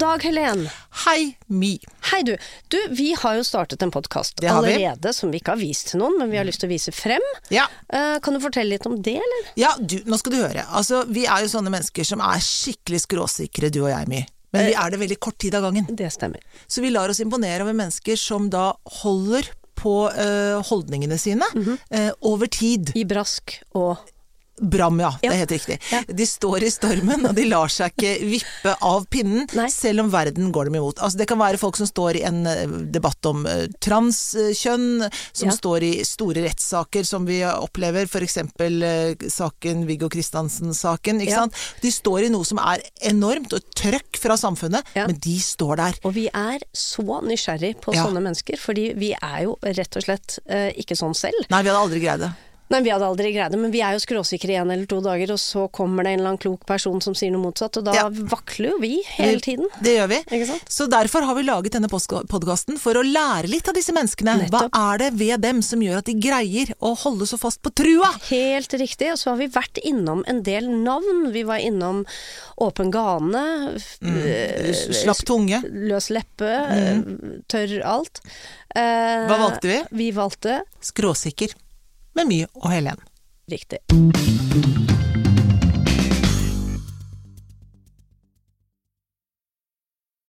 dag, Helen. Hei, Mi. Hei, du. Du, vi har jo startet en podkast Det har vi. allerede som vi ikke har vist til noen, men vi har lyst til å vise frem. Ja. Eh, kan du fortelle litt om det, eller? Ja, du, nå skal du høre. Altså, vi er jo sånne mennesker som er skikkelig skråsikre, du og jeg, Mi. Men vi er det veldig kort tid av gangen. Det stemmer. Så vi lar oss imponere over mennesker som da holder på eh, holdningene sine eh, over tid. I brask og Bram, ja. Det Ja. er helt riktig. Ja. De står i stormen, og de lar seg ikke vippe av pinnen, Nei. selv om verden går dem imot. Altså, det kan være folk som står i en eh, debatt om eh, transkjønn, som Ja. står i store rettssaker som vi opplever, f.eks. saken Viggo Kristiansen-saken. ikke Ja. sant? De står i noe som er enormt, og trøkk fra samfunnet, Ja. men de står der. Og vi er så nysgjerrig på Ja. sånne mennesker, fordi vi er jo rett og slett eh, ikke sånn selv. Nei, vi hadde aldri greid det. Nei, vi hadde aldri greid det, men vi er jo skråsikre i en eller to dager, og så kommer det en eller annen klok person som sier noe motsatt, og da Ja. vakler jo vi hele tiden. Det gjør vi. Ikke sant? Så derfor har vi laget denne podkasten for å lære litt av disse menneskene. Nettopp. Hva er det ved dem som gjør at de greier å holde så fast på trua? Helt riktig. Og så har vi vært innom en del navn. Vi var innom Åpen gane, f- Mm. eh, Slapp tunge. løs leppe, eh, tørr alt. Eh, Mm. Hva valgte vi? Vi valgte Skråsikker. Med mye og Helen. riktig.